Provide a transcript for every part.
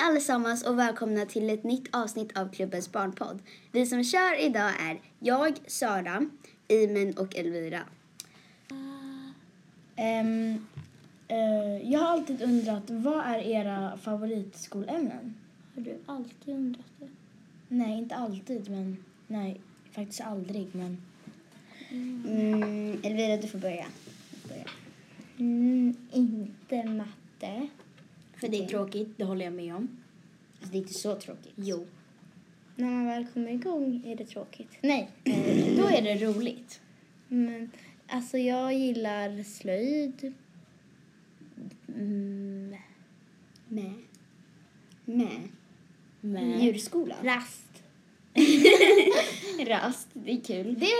allesammans och välkomna till ett nytt avsnitt av klubbens barnpodd. Vi som kör idag är jag, Sara, Imen och Elvira. Ah, Ehm, eh, jag har alltid undrat, vad är era favoritskolämnen? Har du alltid undrat det? Nej, inte alltid, men nej, faktiskt aldrig, men Mm, Elvira, du får börja. Mm, inte matte. För det är tråkigt, det håller jag med om. Alltså, det är inte så tråkigt. Jo. När man väl kommer igång är det tråkigt. nej, eh, då är det roligt. Mm, Men alltså jag gillar slöjd. Mm, Med. Med. Djurskolan. rast. Rast, det är kul. Det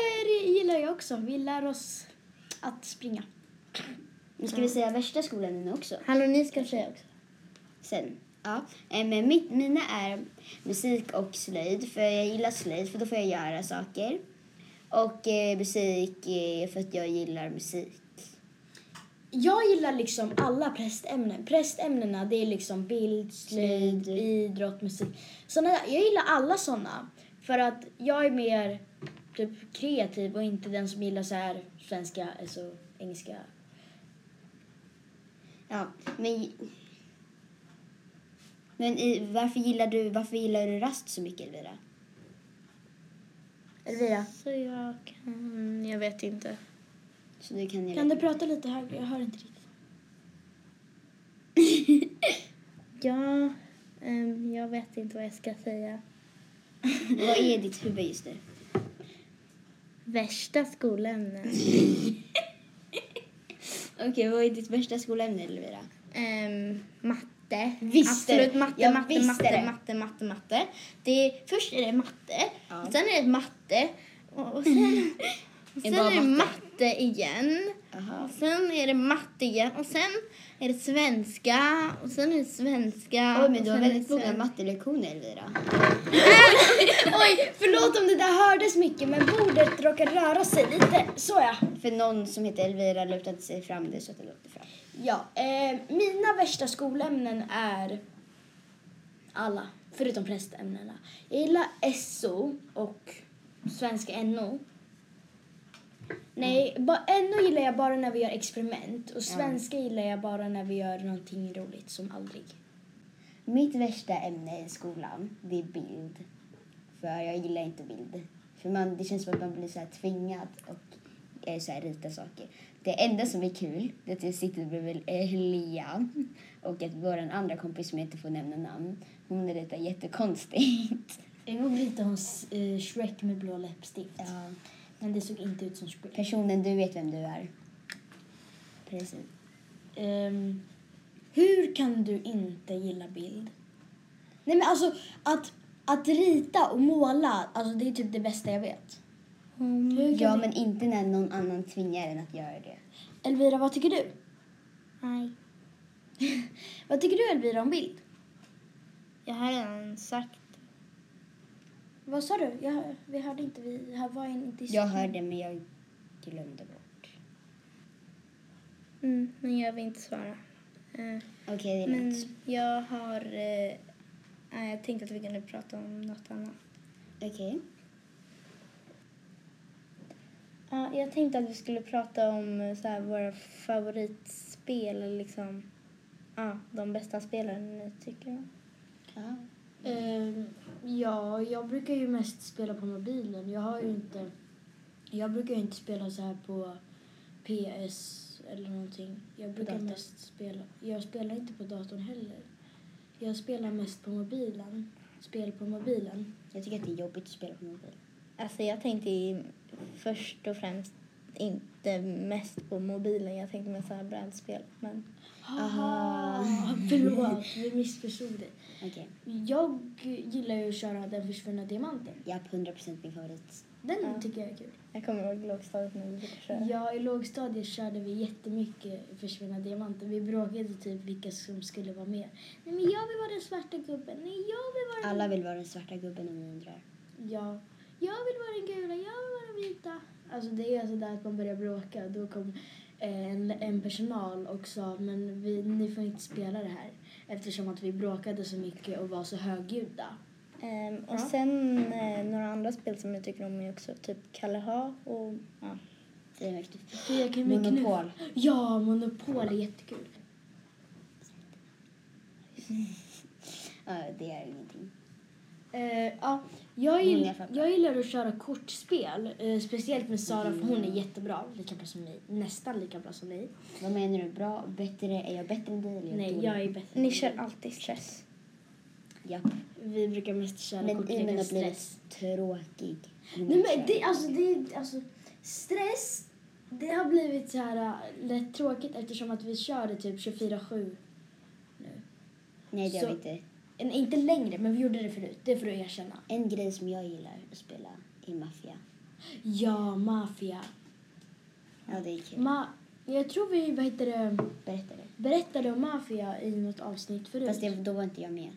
gillar jag också. Vi lär oss att springa. Nu ska vi säga värsta skolan nu också. Hallå, ni ska säga också. sen. Ja. Eh, Men mitt, mina är musik och slöjd, för jag gillar slöjd för då får jag göra saker. Och eh, musik eh, för att jag gillar musik. Jag gillar liksom alla prästämnen. Prästämnena, det är liksom bild, slöjd, Slöjd. idrott, musik. Såna, jag gillar alla såna. För att jag är mer typ kreativ och inte den som gillar så här svenska, alltså engelska. Ja, men... Men i, varför, gillar du, varför gillar du rast så mycket, Elvira? Elvira? Så jag kan... Jag vet inte. Så du kan, Kan du prata lite högre? Jag hör inte riktigt. Ja, ehm, jag vet inte vad jag ska säga. Vad är ditt huvud just nu? Värsta skolämnen. Okej, vad är ditt värsta skolämne, Elvira? Ehm, matte. Visste Absolut det. matte, Jag matte, visste matte, det. matte, matte, matte. Det är, först är det matte, Ja. sen är det matte och, och sen, och sen bara är det matte igen. Aha. Och sen är det matte igen och sen är det svenska och sen är det svenska. Oj, men och du har sen är väldigt det många svenska. mattelektioner, Elvira. Oj, förlåt om det där hördes mycket men bordet råkar röra sig lite. Så ja. För någon som heter Elvira lutade sig fram det så att det låter fram. Ja, eh, mina värsta skolämnen är alla, förutom prästämnena. Jag gillar SO och svenska NO. Nej, ba, NO gillar jag bara när vi gör experiment och svenska gillar jag bara när vi gör någonting roligt som aldrig. Mitt värsta ämne i skolan, det är bild. För jag gillar inte bild. För man, det känns som att man blir så här tvingad och eh, så här rita saker. Det enda som är kul, det är att jag sitter bredvid eh, Lea och att vår andra kompis som jag inte får nämna namn, hon ritar jättekonstigt. En gång ritade hon eh, Shrek med blå läppstift. Ja. Men det såg inte ut som Shrek. Personen, du vet vem du är. Precis. Ehm, hur kan du inte gilla bild? Nej men alltså att, att rita och måla, alltså det är typ det bästa jag vet. Mm. Hur Ja, kan du- men inte när någon annan tvingar en att göra det. Elvira, vad tycker du? Nej, Vad tycker du Elvira om bild? jag har redan sagt. Vad sa du? Jag, hör- vi hörde inte, vi här var inte Jag hörde, men jag glömde bort. Mm, men jag vill inte svara. Eh, Okej, det är men lugnt. jag har... eh, nej, jag tänkte att vi kunde prata om något annat. Okej. Ja, jag tänkte att vi skulle prata om eh, så här, våra favoritspel. eller Liksom. Ja, de bästa spelen ni tycker om. Ja. Ehm, ja, jag brukar ju mest spela på mobilen. Jag har ju inte... Jag brukar ju inte spela så här på PS eller någonting. Jag brukar datorn. mest spela... Jag spelar inte på datorn heller. Jag spelar mest på mobilen. Spel på mobilen. Jag tycker att det är jobbigt att spela på mobil. Alltså jag tänkte ju först och främst inte mest på mobilen. Jag tänkte med så här brädspel. Men Aha. Ah, Förlåt, vi missförstod dig. Okej. Jag gillar ju att köra Den försvunna diamanten. Japp, 100% min favorit. Den Ja. tycker jag är kul. jag kommer ihåg lågstadiet när vi brukade köra. Ja, i lågstadiet körde vi jättemycket Försvunna diamanten. Vi bråkade typ vilka som skulle vara med. Nej, men jag vill vara den svarta gubben. Nej, jag vill vara den... Alla vill vara den svarta gubben om ni undrar. Ja. Jag vill vara den gula, jag vill vara den vita. Alltså det är sådär att man börjar bråka. Då kom eh, en, en personal och sa men vi, ni får inte spela det här. eftersom att vi bråkade så mycket och var så högljudda. Ehm, och Ja. sen eh, några andra spel som jag tycker om är också typ Kalle Ha och ja. Det är mäktigt. Jag kan mycket nu. Monopol. Ja, Monopol är jättekul. Ja, det är ingenting. Eh, ja, jag, Många gill, fabriker. jag gillar att köra kortspel, eh, speciellt med Sara för Mm. hon är jättebra, lika bra som ni, nästan lika bra som ni. Vad menar du? Bra? Bättre? Är jag bättre än dig eller är Nej, dålig? jag är bättre. Ni kör alltid stress. Ja. Vi brukar mest köra Men Imen kortleken har stress. blivit tråkig. Nej men det, alltså det är, alltså stress, det har blivit så här äh, lätt tråkigt eftersom att vi kör det typ 24-7. Nej, det har vi så- inte. Eh, Inte längre, men vi gjorde det förut, det får du erkänna. En grej som jag gillar att spela är maffia. Ja, maffia. Ja, det är kul. Ma, jag tror vi, vad heter det, Berätta det. berättade om maffia i något avsnitt förut. Fast det, då var inte jag med.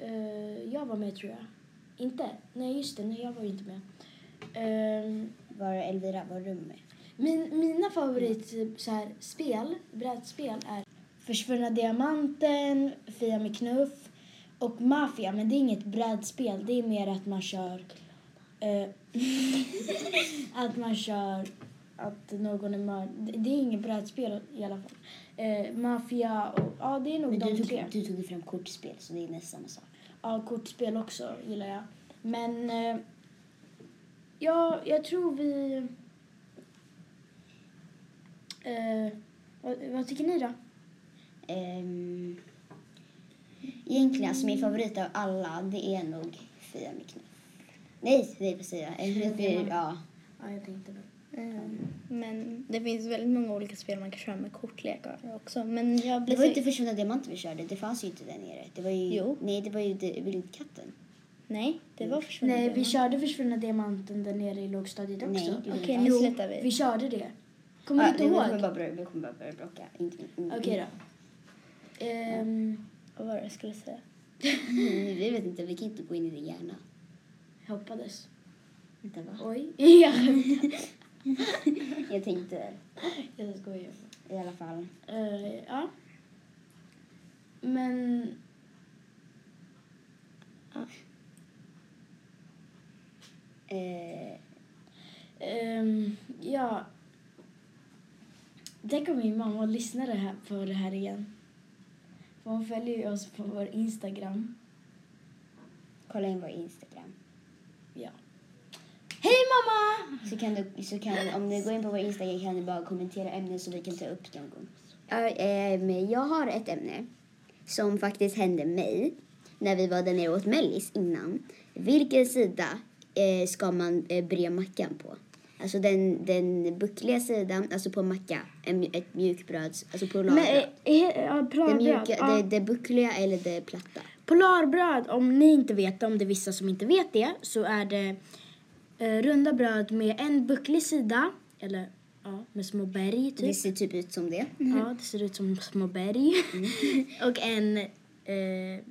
Eh, jag var med tror jag. Inte? Nej just det, nej jag var ju inte med. Ehm, Var Elvira, var du med? min, mina favorit så här, spel, brädspel är Försvunna diamanten, Fia med knuff och Mafia. Men det är inget brädspel, det är mer att man kör... eh, att man kör att någon är mördad. Det- Det är inget brädspel i alla fall. Eh, mafia och... Ja, det är typ nog Men de du tre. tog, du tog ju fram kortspel, så det är nästan samma sak. Ja, kortspel också gillar jag. Men eh, ja, jag tror vi... Eh, vad, vad tycker ni då? Ehm, egentligen, alltså min favorit av alla, det är nog Fia med knuff. Nej, det är på Fia. Eh, det är- Ja. Ja, jag tänkte väl. Ehm, men det finns väldigt många olika spel man kan köra med kortlekar också. Men jag Det blir så- var ju inte Försvunna Diamanten vi körde, det fanns ju inte där nere. Det var ju... Jo. Nej, det var ju det- Vildkatten. Nej, det var försvunnet. Nej, vi körde Försvunna Diamanten där nere i lågstadiet också. Nej, det gjorde vi Okej, inte. nu Jo, slutar vi. vi körde det. Kommer du Ja, inte nu ihåg? kommer bara börja- Vi kommer bara börja bråka. Inte- mm, Okej mm. då. Ehm, Vad var det jag skulle säga? Mm, Vi vet inte, vi kan inte gå in i din hjärna. hoppades. Vänta, va? Oj. jag Jag tänkte skojar. i alla fall. Eh, ja. Men Eh, Ehm, ja. Där kommer min mamma att lyssna det här, på det här igen. För hon följer ju oss på vår Instagram. kolla in vår Instagram. Ja. Hej mamma! Så kan du, så kan, om ni går in på vår Instagram kan ni bara kommentera ämnen så vi kan ta upp det någon gång. eh, jag har ett ämne som faktiskt hände mig när vi var där nere åt Mellis innan. Vilken sida eh, ska man eh, bre mackan på? Alltså den, den buckliga sidan, alltså på macka, en, mj- ett mjukbröds, alltså Men, polarbröd. eh, he- ja, Det polarbröd. mjuka, ja. det, det buckliga eller det platta. Polarbröd, om ni inte vet det, om det är vissa som inte vet det, så är det eh, runda bröd med en bucklig sida, eller ja, med små berg typ. Det ser typ ut som det. Ja, det ser ut som små berg. Mm. och en eh,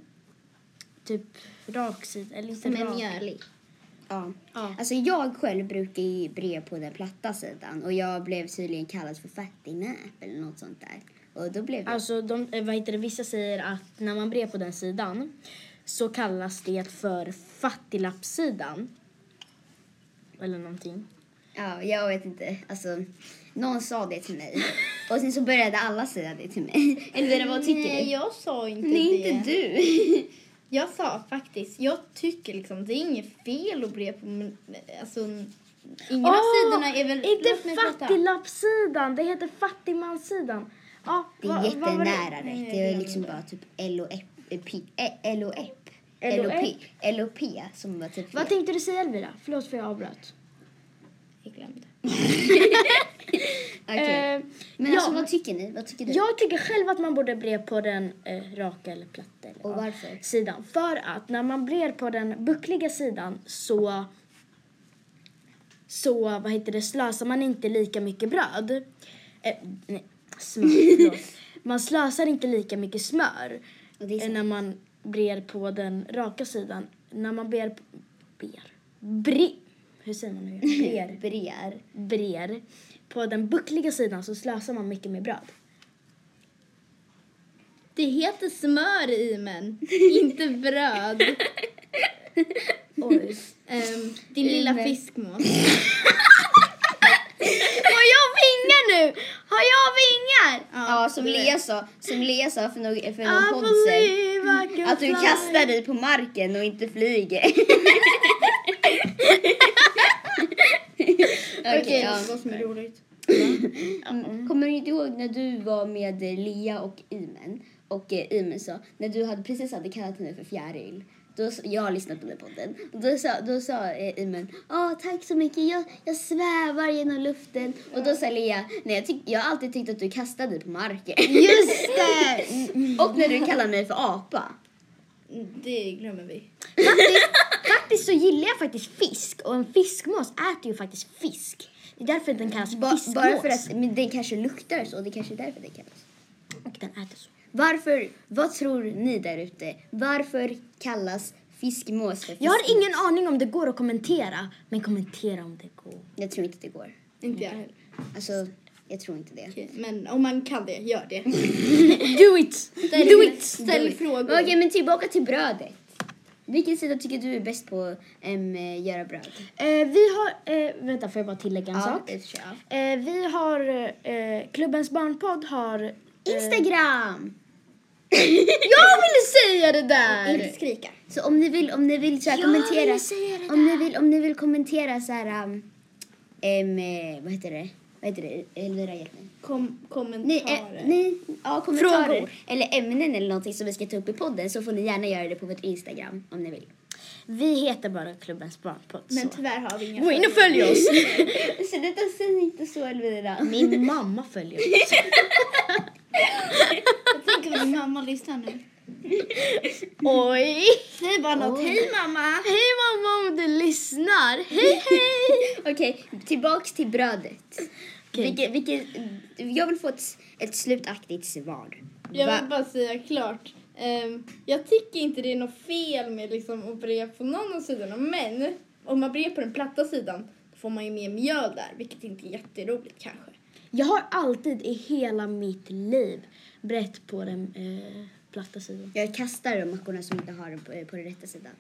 typ rak sida. Eller inte rak. mjölig. Ja. Ja. Alltså jag själv brukar ju bre på den platta sidan och jag blev tydligen kallad för fattignäp eller något sånt där. Och då blev jag... Alltså, de, eh, vad heter det? vissa säger att när man brer på den sidan så kallas det för fattiglappssidan. Eller någonting. Ja, jag vet inte. Alltså, någon sa det till mig. Och sen så började alla säga det till mig. Elvira, vad tycker Nej, du? jag sa inte Nej, det. inte du. Jag sa faktiskt, jag tycker liksom det är inget fel att bre på men alltså ingen av Åh, sidorna är väl... låt mig Inte prata. fattiglappssidan, det heter fattigmanssidan. Ja, Det vad- är vad var jättenära Nej, rätt. jag Det är glömde. liksom bara typ LOP. eh, LOP. LOP. LOP som var typ Vad fel. tänkte du säga Elvira? Förlåt för jag avbröt. Jag glömde. Okej. Eh, Men ja, alltså vad tycker ni? Vad tycker du? Jag tycker själv att man borde bre på den eh, raka eller platta eller, Och ja, varför? sidan. För att när man brer på den buckliga sidan så så vad heter det, slösar man inte lika mycket bröd. Eh, nej, smör, förlåt. Man slösar inte lika mycket smör Och det är eh, när man brer på den raka sidan. När man ber... Ber? Bre... Hur säger man nu? Brer Brer. brer. På den buckliga sidan så slösar man mycket med bröd. Det heter smör i men, inte bröd. Oj. Ehm, din lilla Imen. fiskmås. Har jag vingar nu? Har jag vingar? Ja, som Lea sa, som Lea sa för någon, för I någon podd sen. believe I can Att du fly. kastar dig på marken och inte flyger. Okej, ja. vad som är roligt. Mm. Kommer du inte ihåg när du var med Lea och Imen? Och eh, Imen sa, när du hade precis hade kallat henne för fjäril. Då, s- jag har lyssnat på den här podden. Och Då sa, då sa eh, Imen, Åh, tack så mycket, jag, jag svävar genom luften. Och då sa Lea, nej jag, tyck, jag har alltid tyckt att du kastade dig på marken. Just det! och när du kallar mig för apa. Mm, Det glömmer vi. Faktiskt så gillar jag faktiskt fisk och en fiskmås äter ju faktiskt fisk. Det är därför den kallas Ba, fiskmås. bara för att men den kanske luktar så, det kanske är därför det kallas. Och den äter så. Varför, vad tror ni där ute? Varför kallas fiskmås för fiskmås? Jag har ingen aning om det går att kommentera, men kommentera om det går. jag tror inte det går. Inte jag heller. Alltså, jag tror inte det. Okej, Men om man kan det, gör det. Do it! Do it! Ställ frågor. Okej, men tillbaka till brödet. Vilken sida tycker du är bäst på att göra bröd? Eh, vi har... Eh, vänta, får jag bara tillägga en sak? i och för sig, ja. Eh, vi har... Eh, Klubbens barnpodd har... eh, Instagram! jag ville säga det där! Inte skrika. Så om ni vill, om ni vill så här, Jag kommentera. ville säga det Om ni vill, om ni vill kommentera så här. Um, em, eh, vad heter det? Vad heter det? Elvira, hjälp mig. Kom, Nej, kommentarer. eh, nej, ja, kommentarer Frågor. eller ämnen eller någonting som vi ska ta upp i podden så får ni gärna göra det på vårt Instagram om ni vill. Vi heter bara Klubbens barnpodd. Men så. tyvärr har vi inga Gå in och följ oss! så detta säger inte så Elvira. Min mamma följer oss. Jag tänker att min mamma lyssnar nu. Oj! Säg bara något. Oj. Hej mamma! Hej mamma om du lyssnar! Hej hej! Okej, tillbaks till brödet. Okej. Vilket, vilket, jag vill få ett, ett slutaktigt svar. Jag Va, vill bara säga klart. Ehm, jag tycker inte det är något fel med liksom att bre på någon av sidorna. Men om man brer på den platta sidan då får man ju mer mjöl där. Vilket inte är jätteroligt kanske. Jag har alltid i hela mitt liv brett på den eh, platta sidan. jag kastar de mackorna som inte har dem på, på den rätta sidan.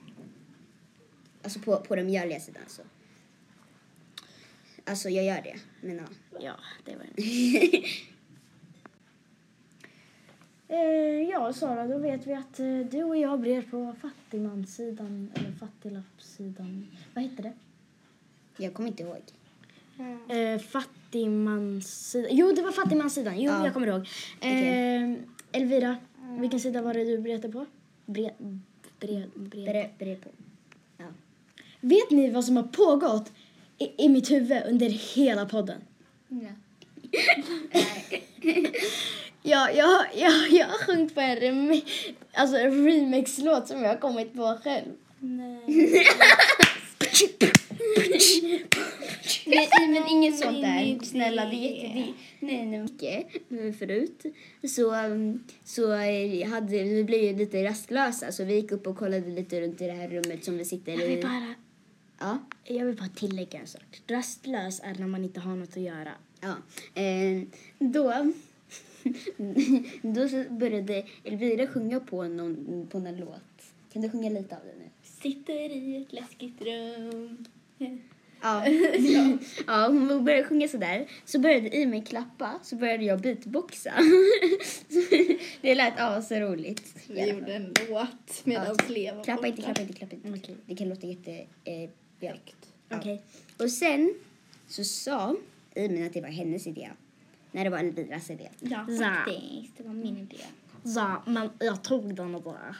Alltså på, på den mjöliga sidan. Så. Alltså jag gör det. Men ja. Ja, det var den. Eh, ja, Sara, då vet vi att eh, du och jag brer på fattigmanssidan, eller fattiglappssidan. Vad heter det? jag kommer inte ihåg. Eh, fattigmanssidan. Jo, det var fattigmanssidan. Jo, Ja. jag kommer ihåg. Eh, Elvira, vilken sida var det du bretade på? Bre, bre, bre. Bre, bre på. Ja. Vet ni vad som har pågått i, i mitt huvud under hela podden? Ja, jag, har- jag, jag har sjungit på en, remi, alltså en remix-låt som jag har kommit på själv. Nej. Nej, nej, men inget sånt Nej, där. det- Snälla, det är jätte... det- Nej, nej, mycket eh, förut så, um, så eh, hade, vi blev ju lite rastlösa så vi gick upp och kollade lite runt i det här rummet som vi sitter Jag vill i. bara, Ja, jag vill bara tillägga en sak. Rastlös är när man inte har något att göra. ja. Eh, då, då så började Elvira sjunga på någon, på någon låt. Kan du sjunga lite av den nu? Sitter i ett läskigt rum. Ja. ja, hon började sjunga sådär. Så började Ime klappa, så började jag beatboxa. det lät asroligt. Vi gjorde en låt medan Ja. Lea var Klappa inte, borta. klappa inte, klappa inte. Det kan låta jätte... Eh, björkt. Ja. Okej. Och sen så sa Ime att det var hennes idé. När det var Elviras idé. Ja, Så. faktiskt. Det var min idé. Så, man, jag tog den och bara...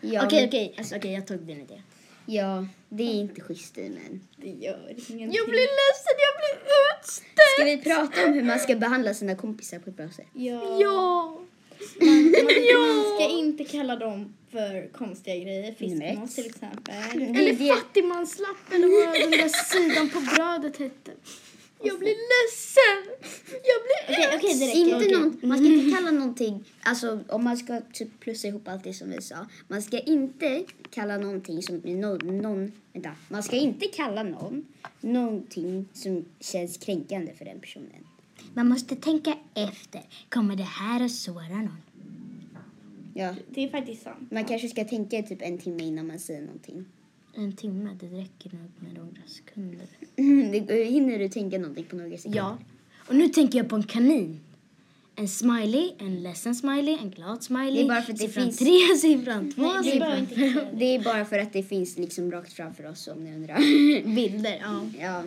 Ja, okej, men- okej. Alltså, okej, jag tog din idé. Ja, det är inte schysst Ime. Det gör ingenting. ledsen, jag blir utstött! Ska vi prata om hur man ska behandla sina kompisar på ett bra sätt? Ja. Ja! Man, man, Ja. man ska inte kalla dem för konstiga grejer. Fiskmås till exempel. Det- Eller det- fattigmanslapp eller vad den där sidan på brödet hette. Jag blir ledsen! Jag blir Okej, okej, Mm. det räcker. Inte någon, man ska inte kalla någonting, alltså om man ska typ plussa ihop allt det som vi sa. Man ska inte kalla någonting som, någon, någon vänta, man ska inte kalla någon någonting som känns kränkande för den personen. Man måste tänka efter. Kommer det här att såra någon? Ja. Det är faktiskt sant. Man kanske ska tänka typ en timme innan man säger någonting. En timme, det räcker nog med några sekunder. Det- Hinner du tänka någonting på några sekunder? Ja. Och nu tänker jag på en kanin. En smiley, en ledsen smiley, en glad smiley. Det är bara för att det siffran finns- tre, siffran två, Nej, det är bara siffran inte kul. Det är bara för att det finns liksom rakt framför oss om ni undrar. Bilder, ja. ja.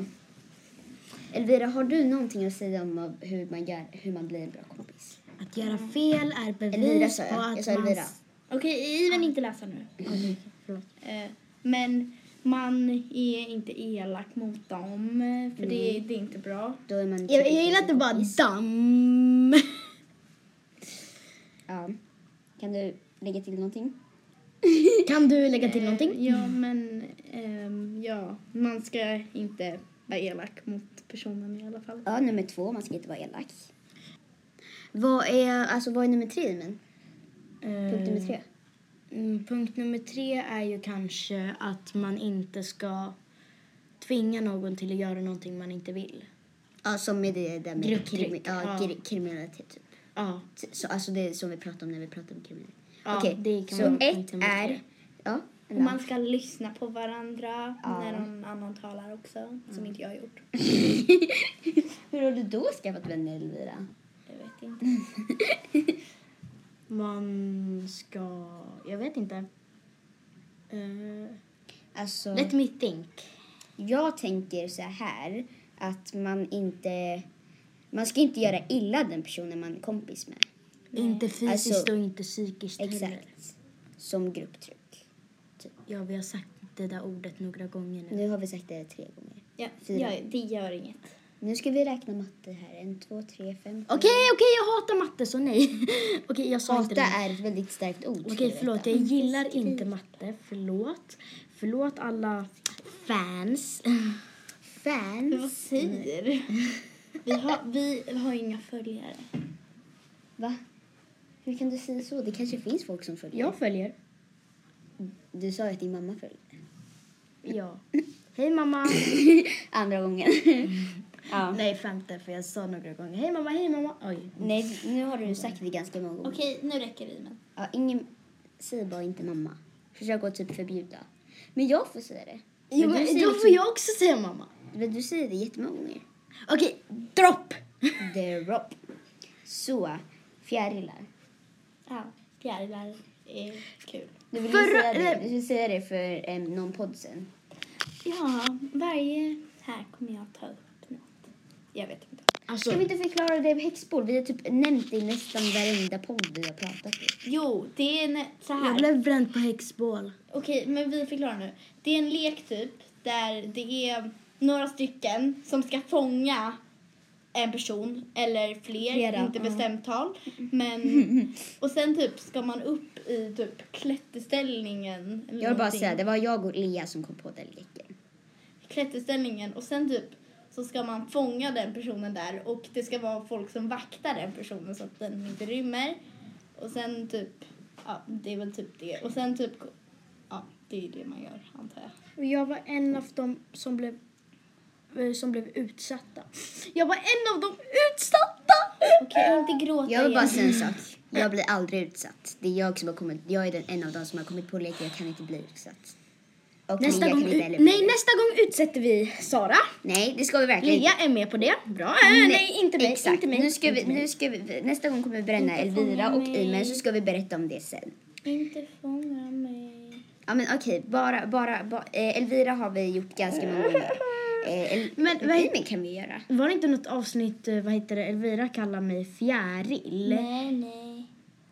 Elvira, har du någonting att säga om av- hur man, gör, hur man blir en bra kompis? Att göra fel är bevis Elvira sa på jag. att Jag sa man... Elvira. Okej, Iven inte läsa nu. förlåt. Eh, Men man är inte elak mot dem, eh, för det, Mm. det är inte bra. Då är man Jag, jag gillar att det bara damm. Ja. Kan du lägga till någonting? Kan du lägga till någonting? Eh, Ja, men ehm, ja, man ska inte vara elak mot personen i alla fall. Ja, nummer två, man ska inte vara elak. Vad är, alltså, vad är nummer tre, men? Punkt nummer Eh, tre. Mm, punkt nummer tre är ju kanske att man inte ska tvinga någon till att göra någonting man inte vill. Ja, som är det där med Grupptryck, krimi- ja, ja. kri- kriminalitet. Typ. Ja, Så, alltså det är som vi pratade om när vi pratade om kriminalitet. ja Okej, det kan så man ett inte är... Ja, Och man ska lyssna på varandra Ja. när någon annan talar också, som inte jag har gjort. Hur har du då skaffat vänner, Elvira? Jag vet inte. Man ska... Jag vet inte. Uh, Alltså, let me think. jag tänker så här att man inte... Man ska inte göra illa den personen man är kompis med. Inte fysiskt Alltså- och inte psykiskt heller. Exakt. Som grupptryck. Ja, vi har sagt det där ordet några gånger nu. Nu har vi sagt det tre gånger. Ja, Fyra. ja, det gör inget. Nu ska vi räkna matte här. En, två, tre, fem. Okej, okej, jag hatar matte så nej. okej, jag sa inte Hata det. är ett väldigt starkt ord. ska Okej, du förlåt. veta. Jag gillar inte matte. Förlåt. Förlåt alla fans. Fans. Vad säger du? Vi har, vi har inga följare. Va? Hur kan du säga så? Det kanske finns folk som följer. följer. Du sa ju att din mamma följer. Ja. Hej mamma. Andra gången. Mm. ja. nej, femte för jag sa några gånger. Hej mamma, hej mamma. Oj. Nej, nu har du sagt det ganska många gånger. Okej, nu räcker det Iven. Ja, ingen... Säg bara inte mamma. Försök att typ förbjuda. Men jag får säga det. Jo, men, men typ- du då säger får jag också säga mamma. men du säger det jättemånga gånger. Okej, dropp. Drop. Så, fjärilar. Ja, fjärilar är kul. Du vill Förra- säga det, eller- du vill säga det för um, någon podd sen. Ja, varje här kommer jag ta upp något. Jag vet inte. Alltså, Ska vi inte förklara det med häxbord? Vi har typ nämnt det i nästan varenda podd vi har pratat i. Jo, det är en, så jag här. blev bränd på häxbål. Okej, men vi förklarar nu. Det är en lek typ där det är några stycken som ska fånga en person eller fler, Flera, inte ja. bestämt tal. Men, och sen typ ska man upp i typ klätterställningen. eller Jag vill bara någonting. säga, det var jag och Lea som kom på den leken. klätterställningen och sen typ så ska man fånga den personen där och det ska vara folk som vaktar den personen så att den inte rymmer. Och sen typ, ja det är väl typ det. Och sen typ, ja det är det man gör antar jag. Och jag var en av dem som blev, eh, som blev utsatta. Jag var en av de utsatta! Okej, inte gråta Jag vill bara igen. säga en sak. Jag blir aldrig utsatt. Det är jag som har kommit, jag är den, en av de som har kommit på leken, jag kan inte bli utsatt. Och Nästa Lea gång, kan inte heller ut- bli nej, det. nästa gång utsätter vi Sara. nej, det ska vi verkligen Lea är med på det. Bra. Äh, Nej, inte mig. Exakt. Inte mig. Nu ska inte vi, mig. nu ska vi, nästa gång kommer vi bränna Inte Elvira fånga och mig. Imen så ska vi berätta om det sen. Inte fånga mig. Ja men okej, bara, bara, ba, eh, Elvira har vi gjort ganska många gånger. Eh, El, men Men vad- Imen kan vi göra. Var det inte något avsnitt, eh, vad heter det, Elvira kallar mig fjäril? Nej, nej.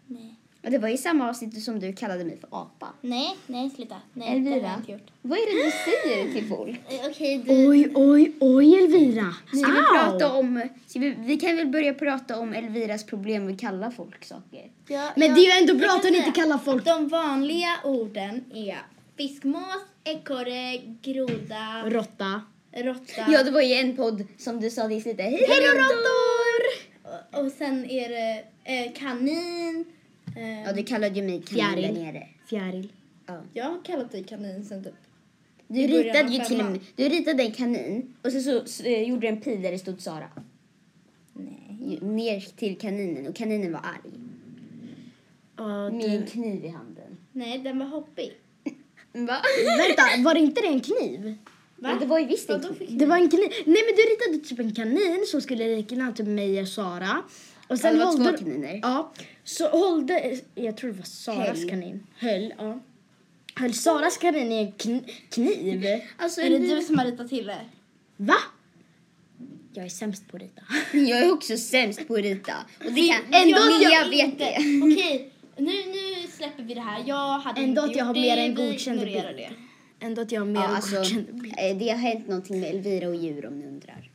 Nej, Och det var ju samma avsnitt som du kallade mig för apa. nej, nej sluta. Nej, det har jag Elvira, inte gjort. vad är det du säger till folk? Eh, Okej, du. Oj, oj, oj Elvira! Ska vi Au! prata om... Ska vi, vi kan väl börja prata om Elviras problem med att kalla folk saker. Ja, Men ja, det är ju ändå bra jag kan att hon inte säga. kallar folk De vanliga orden är fiskmås, ekorre, groda, råtta. råtta. Ja, det var ju en podd som du sa det i slutet. Hej då råttor! Eh, Och, och sen är det eh, kanin. Eh, Ja, du kallade ju mig kanin där Fjäril. nere. Fjäril. Ja. Jag har kallat dig kanin sen typ. Du I början ritade av ju till och femman. med, du ritade en kanin och så, så, så eh, gjorde du en pil där det stod Sara. Nej. Ju- Ner till kaninen och kaninen var arg. Ja, Med en du... kniv i handen. Nej, den var hoppig. Va? Vänta, var det inte det en kniv? Men det var ju visst en Vadå kniv. för Det var en kniv. Nej men du ritade typ en kanin som skulle likna typ mig och Sara. Och Ja, sen det var hållde... två kaniner. Ja. Så hållde, jag tror det var Saras Höll. kanin. Höll, ja. Höll Saras kanin i en kn- kniv. Alltså, är det du som har ritat till det? Va? Jag är sämst på att rita. Jag är också sämst på att rita. Och det kan, Ändå men att jag, jag vet inte- det. Okej, nu, nu släpper vi det här. Jag hade Ändå inte att jag gjort har mer det. än Vi godkänd i ignorerar bild. det. Ändå att jag har mer Ja, ja, alltså, eh, det har hänt någonting med Elvira och djur om ni undrar.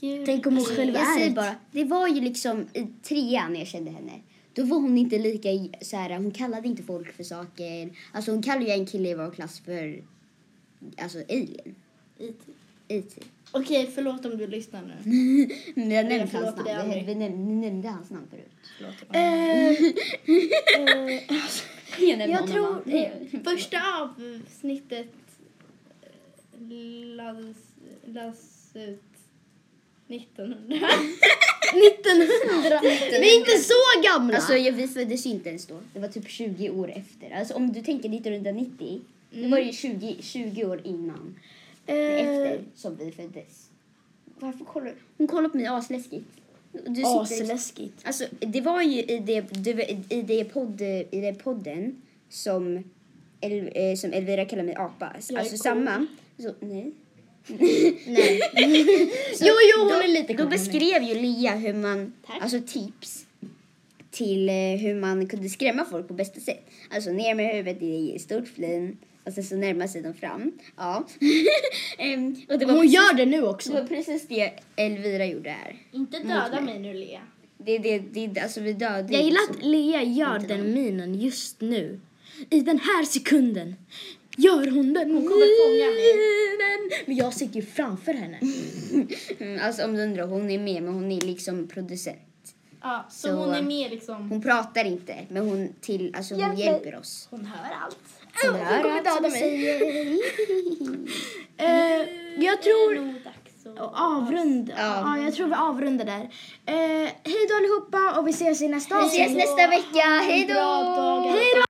Djur Tänk om hon i- själv Alltså, Jag är säger ett- bara, det var ju liksom i trean jag kände henne. Då var hon inte lika så här, hon kallade inte folk för saker. Alltså hon kallade ju en kille i vår klass för alltså alien. IT. IT. Okej, förlåt om du lyssnar nu. Men jag nämnde förlåter hans namn. dig Vi, aldrig. vi nämnde, ni nämnde hans namn förut. Förlåt. Jag, Första avsnittet eh, lades, lades ut 1900. 1900! Vi är inte så gamla! Alltså jag, vi föddes ju inte ens då. Det var typ 20 år efter. Alltså om du tänker 1990. Det var ju Mm. 20, 20 år innan. Eh, Efter som vi föddes. Varför kollar du? Hon kollar på mig asläskigt. Du sitter- Asläskigt. Alltså det var ju i det, du, i det, podd, i det podden som, El, eh, som Elvira kallar mig apa. är Alltså cool. samma. Så, nej. Nej. jo, jo, hon då, är lite Då cool. beskrev ju Lia hur man, Tack. alltså tips till eh, hur man kunde skrämma folk på bästa sätt. Alltså ner med huvudet i ett stort flin och sen så närmar sig de fram. Ja. Em, och det var, Hon precis, gör det nu det också. var precis det Elvira gjorde här. Inte döda mig nu, Lea. Det, det, det, alltså vi dödade Jag ju gillar liksom- att Lea gör den minen just nu. I den här sekunden gör hon den Hon kommer fånga mig. mig. Men jag sitter ju framför henne. Mm, alltså om du undrar, hon är med men hon är liksom producent. Ja, så, Så, hon är eh, med liksom. Hon pratar inte men hon, till, alltså, hon hjälper oss. Hon hör allt. Hon hör allt som vi Eh, jag tror... Det är nog dags att- och Avrunda. Ja. jag tror vi avrundar där. Eh, hej då allihopa och vi ses i nästa Vi ses nästa vecka, hej då! Bra dagar. Hej då!